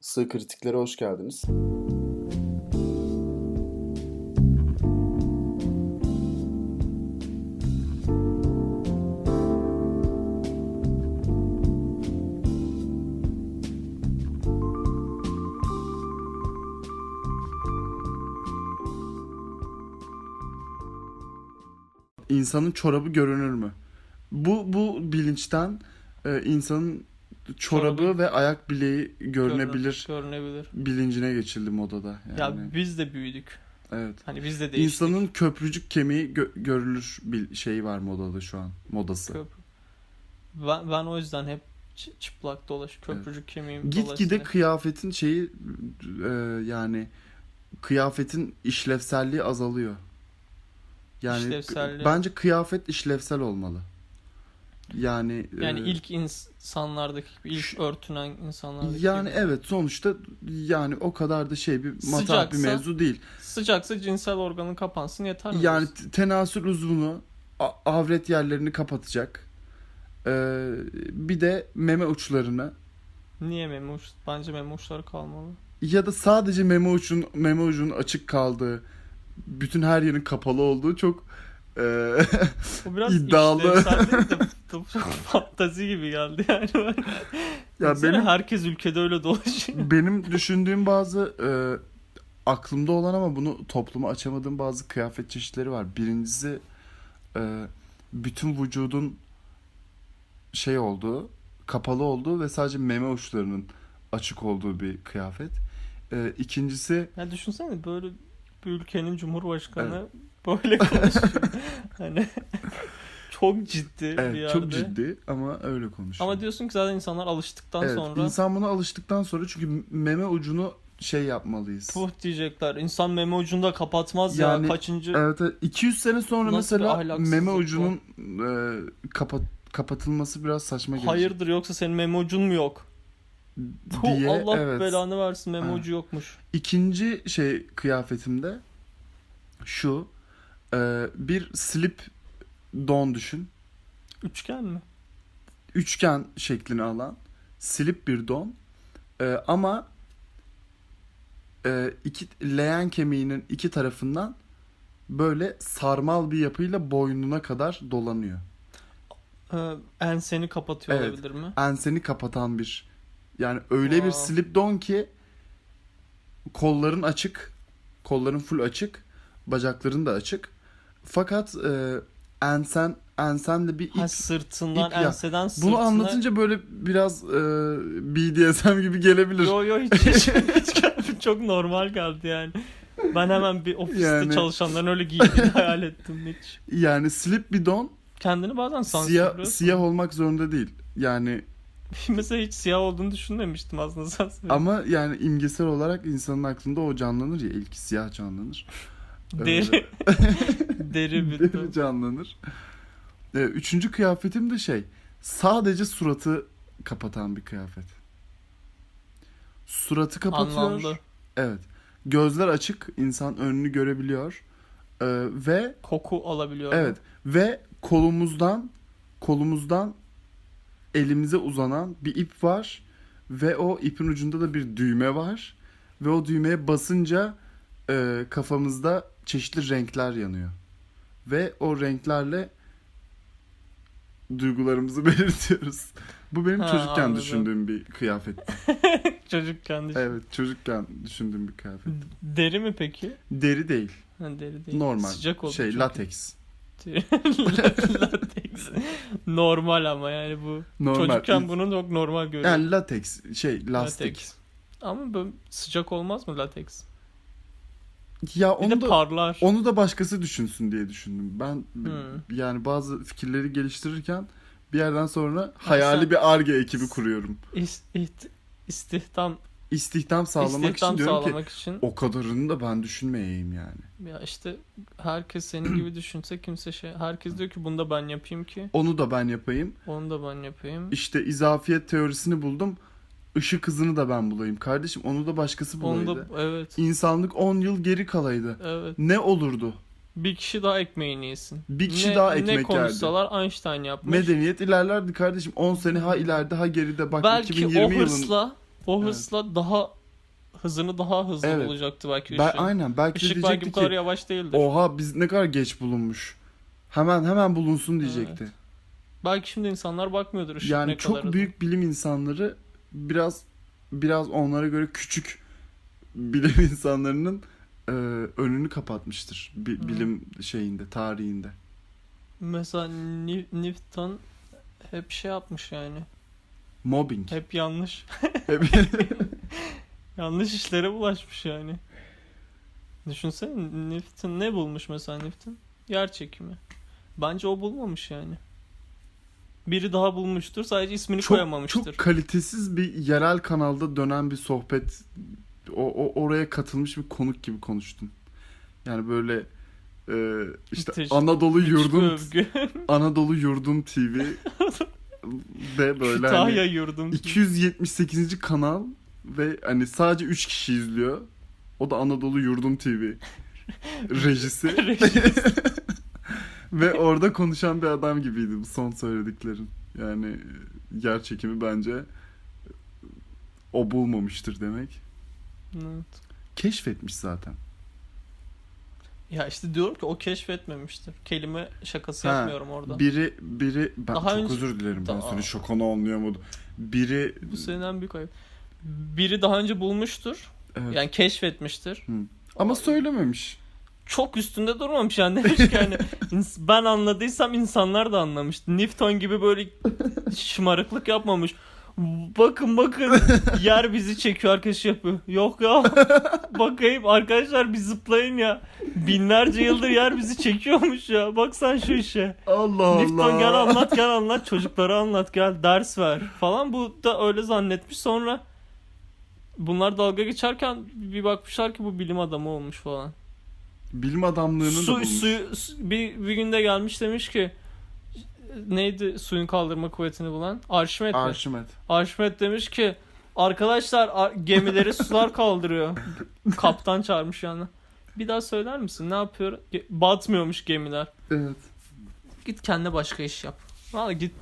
Sığ Kritiklere hoş geldiniz. İnsanın çorabı görünür mü? Bu bu bilinçten e, insanın çorabı, Çorabı. ve ayak bileği görünebilir Görünebilir. bilincine geçildi modada. Yani Ya biz de büyüdük. evet. Hani biz de değiştik. İnsanın köprücük kemiği gö- görülür bir şey var modada şu an. Modası. Köprü. Ben, ben o yüzden hep çı- çıplak dolaş, köprücük kemiğim Gitgide dolaşıyor. kıyafetin şeyi e, yani kıyafetin işlevselliği azalıyor. Yani İşlevselliği- bence kıyafet işlevsel olmalı. Yani Yani e, ilk insanlardaki gibi, ilk şu- örtünen insanlardaki yani gibi. evet sonuçta yani o kadar da şey bir matah bir Sıcaksa- mevzu değil. Sıcaksa cinsel organın kapansın yeter mi? Yani diyorsun? t- tenasül uzvunu a- avret yerlerini kapatacak. E, bir de meme uçlarını Niye meme uç? Bence meme uçları kalmalı. ya da sadece meme ucun meme ucunun açık kaldığı bütün her yerin kapalı olduğu çok e, Bu biraz İddialı. işlevsel değil de bu- bu fantazi gibi geldi yani. Ben- ya Düşünsene benim Herkes ülkede öyle dolaşıyor. benim düşündüğüm bazı e, aklımda olan ama bunu topluma açamadığım bazı kıyafet çeşitleri var. Birincisi e, bütün vücudun şey olduğu, kapalı olduğu ve sadece meme uçlarının açık olduğu bir kıyafet. E, ikincisi Ya düşünsene böyle bir ülkenin cumhurbaşkanı böyle konuşuyor. hani çok ciddi bir evet, yerde. çok ciddi ama öyle konuşuyor. Ama diyorsun ki zaten insanlar alıştıktan Evet, sonra insan buna alıştıktan sonra çünkü meme ucunu şey yapmalıyız. puh diyecekler. İnsan meme ucunda kapatmaz Yani, ya kaçıncı Evet, evet. 200 sene sonra Nasıl bir mesela ahlaksızlık meme bu? ucunun e, kapat kapatılması biraz saçma gelecek. hayırdır yoksa senin meme ucun mu yok? Puh, diye Allah evet. belanı versin meme Evet. ucu yokmuş. İkinci şey kıyafetimde şu e, bir slip don düşün. Üçgen mi? Üçgen şeklini alan slip bir don. E, ama e, iki leğen kemiğinin iki tarafından böyle sarmal bir yapıyla boynuna kadar dolanıyor. Ee, enseni kapatıyor Evet. olabilir mi? enseni kapatan bir yani öyle Aa. bir slip don ki kolların açık, kolların full açık, bacakların da açık. Fakat e, ensen ensenle bir Ha ip. sırtından ip ya. enseden sırtına. Bunu anlatınca böyle biraz e, BDSM gibi gelebilir. Yo yo hiç, hiç, hiç gelmedi. çok normal geldi yani. Ben hemen bir ofiste Yani- çalışanların öyle giydiğini hayal ettim hiç. Yani slip bir don Kendini bazen siyah sansürlüyorsun. siyah olmak zorunda değil. Yani Mesela hiç siyah olduğunu düşünmemiştim aslında sansür. ama yani imgesel olarak insanın aklında o canlanır ya ilk siyah canlanır. Ee, Deri. Deri bir Deri canlanır. Ee, Üçüncü kıyafetim de şey. Sadece suratı kapatan bir kıyafet. Suratı kapatıyor. Anlamlı. Evet. Gözler açık. insan önünü görebiliyor. Ee, ve Koku alabiliyorum. evet ve kolumuzdan kolumuzdan elimize uzanan bir ip var ve o ipin ucunda da bir düğme var ve o düğmeye basınca e, kafamızda çeşitli renkler yanıyor ve o renklerle duygularımızı belirtiyoruz. Bu benim Ha, çocukken anladım. düşündüğüm bir kıyafet. Çocukken düşün. Evet, çocukken düşündüğüm bir kıyafet. Deri mi peki? Deri değil, Ha, deri değil. normal. Sıcak oldu şey, çünkü. lateks. Lateks. normal ama yani bu. Normal. Çocukken bunu çok normal görüyorum. Yani lateks, şey, lastik. Lateks. Ama böyle sıcak olmaz mı lateks? Ya Bir de onu da parlar. onu da başkası düşünsün diye düşündüm. Ben b- Hmm. yani bazı fikirleri geliştirirken bir yerden sonra hayali sen- bir arge ekibi kuruyorum. İs- iht- istihdam İstihdam sağlamak istihdam için diyorum sağlamak ki için o kadarını da ben düşünmeyeyim yani. ya işte herkes senin gibi düşünse kimse şey herkes diyor ki bunu da ben yapayım ki Onu da ben yapayım. onu da ben yapayım İşte izafiyet teorisini buldum. Işık hızını da ben bulayım kardeşim. Onu da başkası bulaydı. onu da evet İnsanlık 10 yıl geri kalaydı. evet Ne olurdu? bir kişi daha ekmeğini yesin Bir kişi ne, daha ne ekmek yerdi. konuşsalar Einstein yapmış Medeniyet ilerlerdi kardeşim. 10 sene ha ileride ha geride bak belki 2020 o yılın hırsla O Evet. hırsla daha hızını daha hızlı Evet. bulacaktı belki Ben, ışığın. aynen belki de Işık belki diyecekti bu kadar ki yavaş değildir. oha biz ne kadar geç bulunmuş. Hemen hemen bulunsun Evet. diyecekti. Belki şimdi insanlar bakmıyordur ışık Yani ne çok kadar hızlı. büyük bilim insanları biraz biraz onlara göre küçük bilim insanlarının e, önünü kapatmıştır bi- Hı. bilim şeyinde, tarihinde. Mesela Ni- Newton hep şey yapmış yani. Mobbing. Hep yanlış. Hep- yanlış işlere bulaşmış yani. Düşünsene Newton ne bulmuş mesela Newton? Yer çekimi. Bence o bulmamış yani. Biri daha bulmuştur sadece ismini çok, koyamamıştır. çok kalitesiz bir yerel kanalda dönen bir sohbet. O, o- oraya katılmış bir konuk gibi konuştun. Yani böyle e, işte Müthiş. Anadolu Hiçbir yurdum övgü. Anadolu yurdum TV ve böyle hani Kütahya yurdum. 278. kanal ve hani sadece 3 kişi izliyor. O da Anadolu Yurdum TV rejisi Reşit. ve orada konuşan bir adam gibiydi bu son söylediklerin. Yani e, yer çekimi bence e, o bulmamıştır demek. Evet. Keşfetmiş zaten. Ya işte diyorum ki o keşfetmemiştir. Kelime şakası Ha, yapmıyorum orada. Biri biri ben Daha çok önce- özür dilerim ben Daha- senin şokanı anlayamadım. Biri Bu senin en büyük ayıp. Biri daha önce bulmuştur. Evet. Yani keşfetmiştir. ama söylememiş. Çok üstünde durmamış yani demiş ki yani "İns- ben anladıysam insanlar da anlamış. Newton gibi böyle şımarıklık yapmamış. Bakın bakın yer bizi çekiyor arkadaş yapıyor. Yok ya bakayım arkadaşlar bir zıplayın ya. Binlerce yıldır yer bizi çekiyormuş ya. Baksan şu işe. Allah Allah. Newton gel anlat gel anlat çocuklara anlat gel ders ver falan bu da öyle zannetmiş sonra bunlar dalga geçerken bir bakmışlar ki bu bilim adamı olmuş falan. Bilim adamlığını da Su, bulmuş. suyu, su- bir, bir günde gelmiş demiş ki neydi suyun kaldırma kuvvetini bulan Arşimet mi? Arşimet. Arşimet demiş ki arkadaşlar ar- gemileri sular kaldırıyor. Kaptan çağırmış yani. Bir daha söyler misin ne yapıyor? Ge- Batmıyormuş gemiler. Evet. Git kendine başka iş yap. Valla git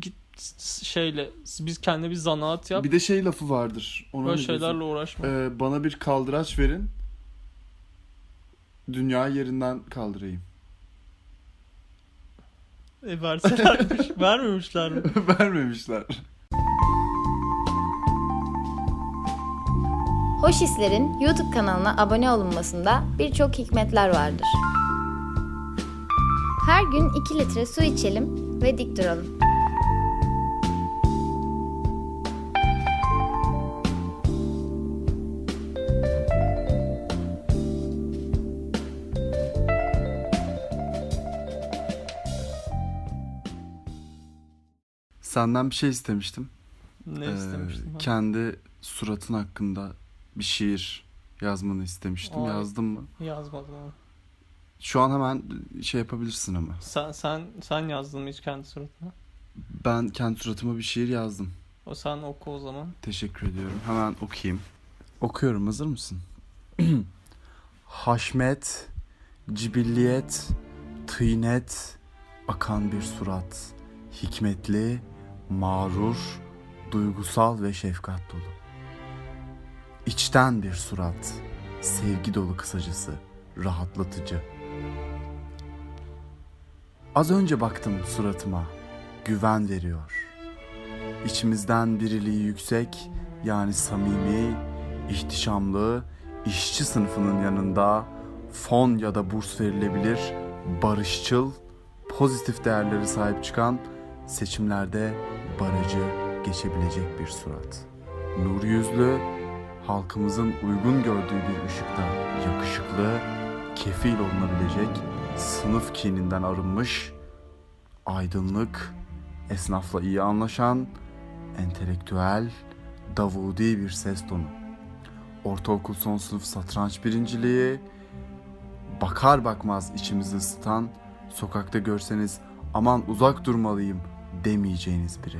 git s- şeyle biz kendi bir zanaat yap. Bir de şey lafı vardır. Ona Böyle ne diyorsun? şeylerle uğraşma. Ee, bana bir kaldıraç verin. Dünya yerinden kaldırayım. E, verselermiş. Vermemişler mi? Vermemişler. Hoş Hisler'in YouTube kanalına abone olunmasında birçok hikmetler vardır. Her gün 2 litre su içelim ve dik duralım. Senden bir şey istemiştim. Ne Ee, istemiştim ben? Kendi suratın hakkında bir şiir yazmanı istemiştim. Ay. Yazdın mı? Yazmadım onu. Şu an hemen şey yapabilirsin ama. Sen, sen, sen yazdın mı hiç kendi suratına? Ben kendi suratıma bir şiir yazdım. O sen oku o zaman. Teşekkür ediyorum. Hemen okuyayım. Okuyorum. Hazır mısın? Haşmet, cibilliyet, tıynet, akan bir surat. Hikmetli, mağrur, duygusal ve şefkat dolu. İçten bir surat. Sevgi dolu kısacası. Rahatlatıcı. Az önce baktım suratıma. Güven veriyor. İçimizden biriliği yüksek yani samimi, ihtişamlı, işçi sınıfının yanında fon ya da burs verilebilir, barışçıl, pozitif değerlere sahip çıkan seçimlerde barajı geçebilecek bir surat. Nur yüzlü, halkımızın uygun gördüğü bir ışıkta yakışıklı, kefil olunabilecek, sınıf kininden arınmış, aydınlık, esnafla iyi anlaşan, entelektüel, davudi bir ses tonu. Ortaokul son sınıf satranç birinciliği, bakar bakmaz içimizi ısıtan, sokakta görseniz aman uzak durmalıyım demeyeceğiniz biri.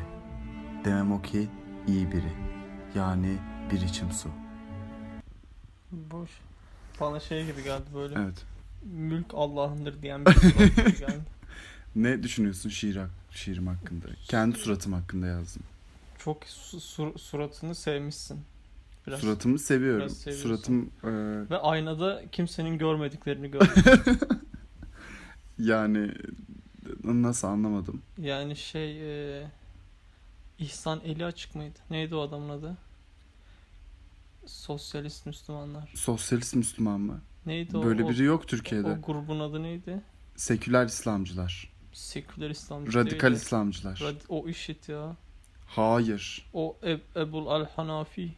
Demem o ki iyi biri. Yani bir içim su. Boş. Bana şey gibi geldi böyle. Evet. Mülk Allah'ındır diyen bir surat gibi geldi. Ne düşünüyorsun şiir hak- şiirim hakkında? Kendi suratım hakkında yazdım. Çok su- sur- suratını sevmişsin. Biraz. Suratımı seviyorum. biraz seviyorsun. Suratım e, Ve aynada kimsenin görmediklerini gördüm. yani nasıl anlamadım. yani şey e, İhsan eli açık mıydı? Neydi o adamın adı? Sosyalist Müslümanlar. Sosyalist Müslüman mı? Neydi o? Böyle o, biri yok o Türkiye'de. grubun adı neydi? Seküler İslamcılar, Seküler İslamcı radikal değildi. İslamcılar. Rad- o işit ya. Hayır. O Eb- Ebul Al-Hanafi.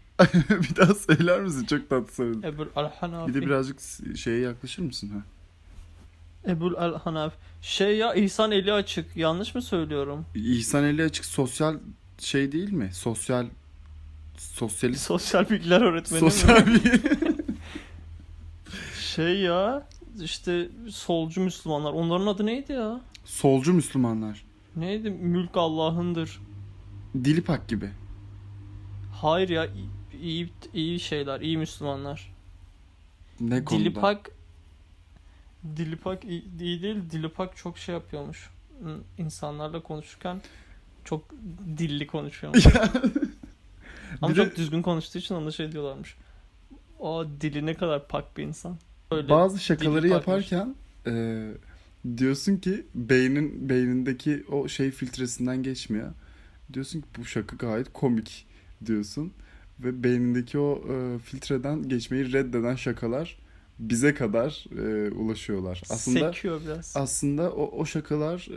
bir daha söyler misin? Çok tatlı söyledin. Ebul Al-Hanafi. Bir de birazcık s- şeye yaklaşır mısın? Ha? Ebul Al-Hanafi. Şey ya İhsan eli açık. Yanlış mı söylüyorum? İhsan Ali Açık sosyal şey değil mi? Sosyal sosyalist Sosyal bilgiler öğretmeni mi? sosyal bir Şey ya işte solcu Müslümanlar. Onların adı neydi ya? solcu Müslümanlar. Neydi? Mülk Allah'ındır. Dilipak gibi. Hayır ya iyi- iyi iyi şeyler, iyi Müslümanlar. Ne konuda? Dilipak Dilipak iyi iyi değil. Dilipak çok şey yapıyormuş. Hmm, İnsanlarla konuşurken çok dilli konuşuyormuş. Ama Bir de çok düzgün konuştuğu için ona şey diyorlarmış. O dili ne kadar pak bir insan. Öyle. bazı şakaları Dilipak'mış. yaparken e, diyorsun ki beynin beynindeki o şey filtresinden geçmiyor. Diyorsun ki bu şaka gayet komik diyorsun ve beynindeki o e, filtreden geçmeyi reddeden şakalar bize kadar e, ulaşıyorlar. Aslında Sekiyor biraz. aslında o, o şakalar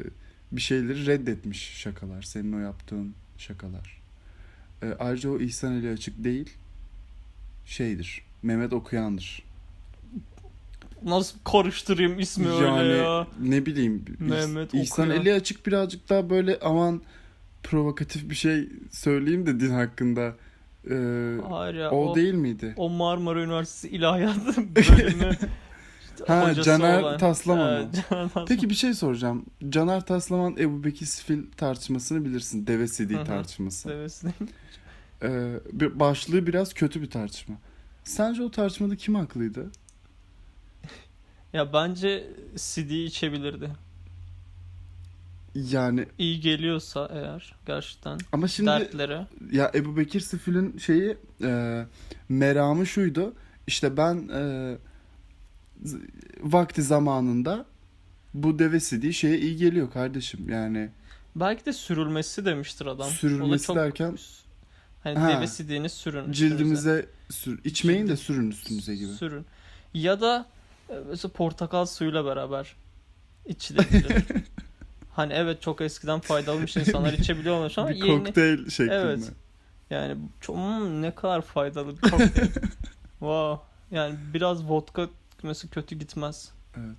e, bir şeyleri reddetmiş şakalar. Senin o yaptığın şakalar. E, ayrıca o İhsan Ali Açık değil. Şeydir. Mehmet Okuyan'dır. Nasıl karıştırayım ismi öyle ya. ne bileyim. İh- Mehmet İhsan Okuyan. Eli Açık birazcık daha böyle aman provokatif bir şey söyleyeyim de din hakkında. E, Hayır ya. o, O, değil miydi? o Marmara Üniversitesi İlahiyat bölümü ha hocası Caner olan. Taslaman. Evet, o. Caner Taslaman. Peki bir şey soracağım. Caner Taslaman Ebu Bekir Sifil tartışmasını bilirsin. Deve Hı CD hı. tartışması. Sevesini. Ee, bir başlığı biraz kötü bir tartışma. Sence o tartışmada kim haklıydı? Ya bence CD içebilirdi. Yani İyi geliyorsa eğer gerçekten ama şimdi dertlere. ya Ebu Bekir Sifil'in şeyi e, meramı şuydu. İşte ben e, z- vakti zamanında bu deve CD'yi şeye iyi geliyor kardeşim. Yani Belki de sürülmesi demiştir adam. O da Sürülmesi çok- derken- Hani Ha. deve CD'ni sürün. üstünüze. cildimize sür, içmeyin de Cildi- sürün üstünüze gibi. Sürün. Ya da e, mesela portakal suyuyla beraber içilebilir. hani evet çok eskiden faydalıymış insanlar içebiliyormuş ama Bir yeni kokteyl şeklinde. Evet. yani çok, hmm, ne kadar faydalı bir kokteyl. wow. Yani biraz vodka mesela kötü gitmez. Evet.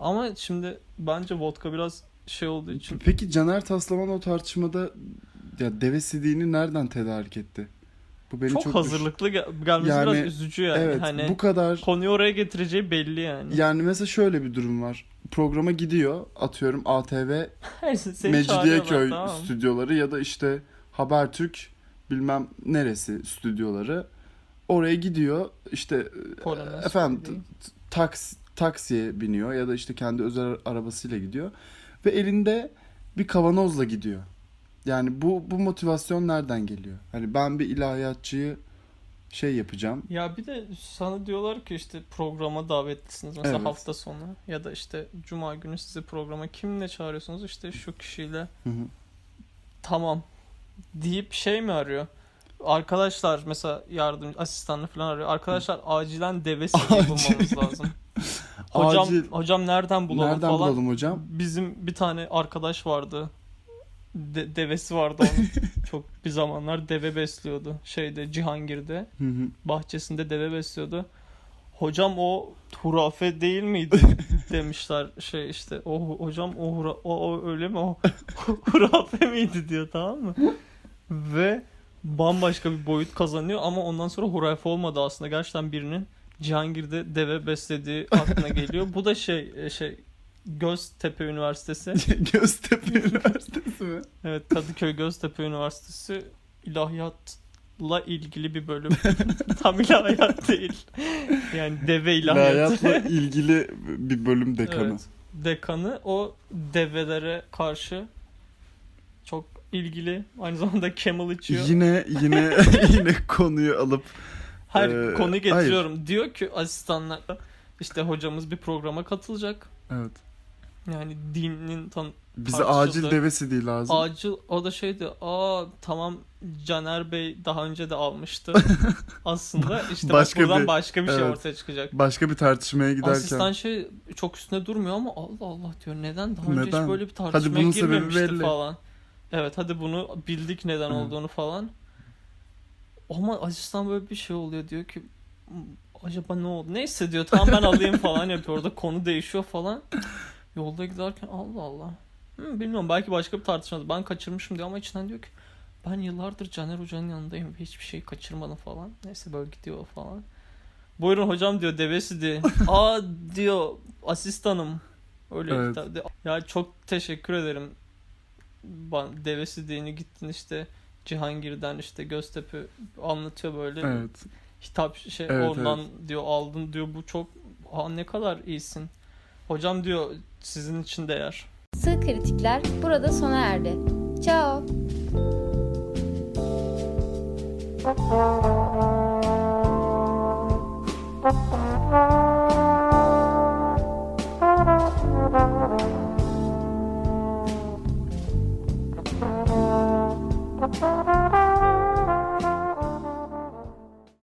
Ama şimdi bence vodka biraz şey olduğu için Peki Caner Taslaman o tartışmada ya deve sidiğini nereden tedarik etti? Bu beni çok, çok, düş- hazırlıklı gel- gelmesi Yani, biraz üzücü yani. Evet, hani bu kadar. konuyu oraya getireceği belli yani. Yani mesela şöyle bir durum var. Programa gidiyor, atıyorum ATV, Her seni Mecidiyeköy çağırıyorlar, tamam. stüdyoları ya da işte Habertürk bilmem neresi stüdyoları. Oraya gidiyor, işte Polonez efendim stüdyo. t- taks taksiye biniyor ya da işte kendi özel arabasıyla gidiyor ve elinde bir kavanozla gidiyor. Yani bu bu motivasyon nereden geliyor? Hani ben bir ilahiyatçıyı şey yapacağım. Ya bir de sana diyorlar ki işte programa davetlisiniz mesela Evet. hafta sonu ya da işte cuma günü sizi programa kimle çağırıyorsunuz işte şu kişiyle Hı hı. tamam deyip şey mi arıyor? Arkadaşlar mesela yardım asistanını falan arıyor. Arkadaşlar acilen deve sineği bulmamız lazım. Hocam Acil. hocam nereden bulalım nereden falan. bulalım hocam? Bizim bir tane arkadaş vardı. De- devesi vardı onun. Çok bir zamanlar deve besliyordu. Şeyde Cihangir'de Hı hı. bahçesinde deve besliyordu. Hocam o hurafe değil miydi? demişler şey işte o hu- hocam o, hura, o, o öyle mi o hurafe miydi diyor tamam mı? Ve bambaşka bir boyut kazanıyor ama ondan sonra hurafe olmadı aslında gerçekten birinin Cihangir'de deve beslediği aklına geliyor. Bu da şey e, şey Göztepe Üniversitesi Göztepe Üniversitesi mi? Evet Kadıköy Göztepe Üniversitesi ilahiyatla ilgili bir bölüm. Tam ilahiyat değil. Yani deve ilahiyatı. İlahiyatla ilgili bir bölüm dekanı. Evet. Dekanı o develere karşı çok ilgili. Aynı zamanda camel içiyor. Yine yine yine konuyu alıp Her Ee, konu getiriyorum. Diyor ki asistanlar işte hocamız bir programa katılacak. evet. Yani dinin tan Bize Tartışıldı. acil devesi değil lazım. acil o da şeydi. Aa tamam Caner Bey daha önce de almıştı. Aslında işte bak Başka buradan bir- başka bir şey evet. ortaya çıkacak. Başka bir tartışmaya giderken. Asistan şey çok üstüne durmuyor ama Allah Allah diyor neden daha önce Neden? hiç böyle bir Hadi tartışmaya bunun sebebi girmemişti belli. falan. Evet hadi bunu bildik neden Hı. olduğunu falan. Ama asistan böyle bir şey oluyor diyor ki "Hmm, acaba ne oldu? Neyse diyor tamam ben alayım falan yapıyor orada konu değişiyor falan. Yolda giderken Allah Allah. Hı, Hmm, bilmiyorum belki başka bir tartışma. Ben kaçırmışım diyor ama içinden diyor ki ben yıllardır Caner Hoca'nın yanındayım ve hiçbir şey kaçırmadım falan. Neyse böyle gidiyor falan. Buyurun hocam diyor devesi diye. Aa diyor asistanım. Öyle Evet. hitap ediyor. Ya çok teşekkür ederim. Ban- Devesi diyeni gittin işte Cihangir'den işte Göztepe anlatıyor böyle. Evet. Hitap şey Evet, ondan diyor aldın diyor bu çok Aa, ne kadar iyisin. Hocam diyor sizin için değer. Sığ kritikler burada sona erdi. Ciao.